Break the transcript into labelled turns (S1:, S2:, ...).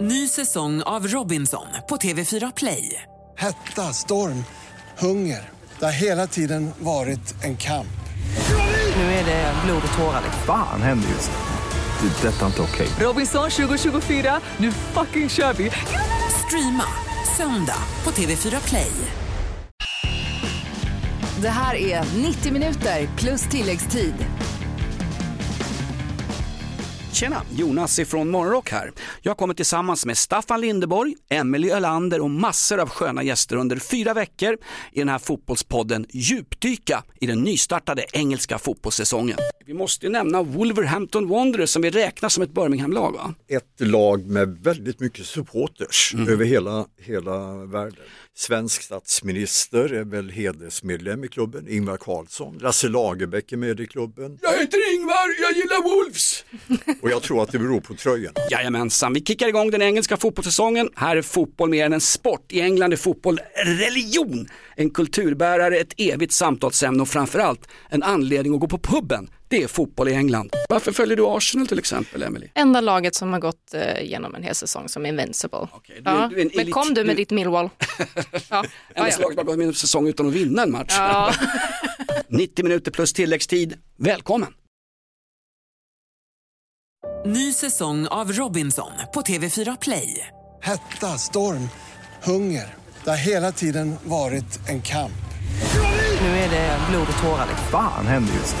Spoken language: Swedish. S1: Ny säsong av Robinson på TV4 Play.
S2: Hetta, storm, hunger. Det har hela tiden varit en kamp.
S1: Nu är det blod och tårar. liksom.
S3: Fan händer just nu. Det. är Detta är inte okej.
S1: Robinson 2024, nu fucking kör vi! Streama söndag på TV4 Play.
S4: Det här är 90 minuter plus tilläggstid.
S5: Tjena! Jonas ifrån Morgonrock här. Jag kommer tillsammans med Staffan Lindeborg, Emelie Ölander och massor av sköna gäster under fyra veckor i den här fotbollspodden djupdyka i den nystartade engelska fotbollssäsongen. Vi måste ju nämna Wolverhampton Wanderers som vi räknar som ett Birmingham-lag va?
S6: ett lag med väldigt mycket supporters över hela, hela världen. Svensk statsminister är väl hedersmedlem i klubben, Ingvar Carlsson. Lasse Lagerbäck är med i klubben
S5: Jag heter Ingvar, jag gillar Wolves!
S6: och jag tror att det beror på tröjan.
S5: Jajamensan, vi kickar igång den engelska fotbollssäsongen. Här är fotboll mer än en sport. I England är fotboll religion, en kulturbärare, ett evigt samtalsämne och framförallt en anledning att gå på puben. Det är fotboll i England. Varför följer du Arsenal till exempel, Emily?
S7: Enda laget som har gått eh, genom en hel säsong som Invincible.
S5: du är-
S7: ja.
S5: du är en
S7: Men
S5: elit-
S7: kom du med
S5: du-
S7: ditt Millwall. ja. Ja,
S5: Enda
S7: ja.
S5: slaget man gått med en säsong utan att vinna en match.
S7: Ja.
S5: 90 minuter plus tilläggstid. Välkommen!
S1: Ny säsong av Robinson på TV4 Play.
S2: Hetta, storm, hunger. Det har hela tiden varit en kamp.
S1: liksom.
S3: Fan händer just nu.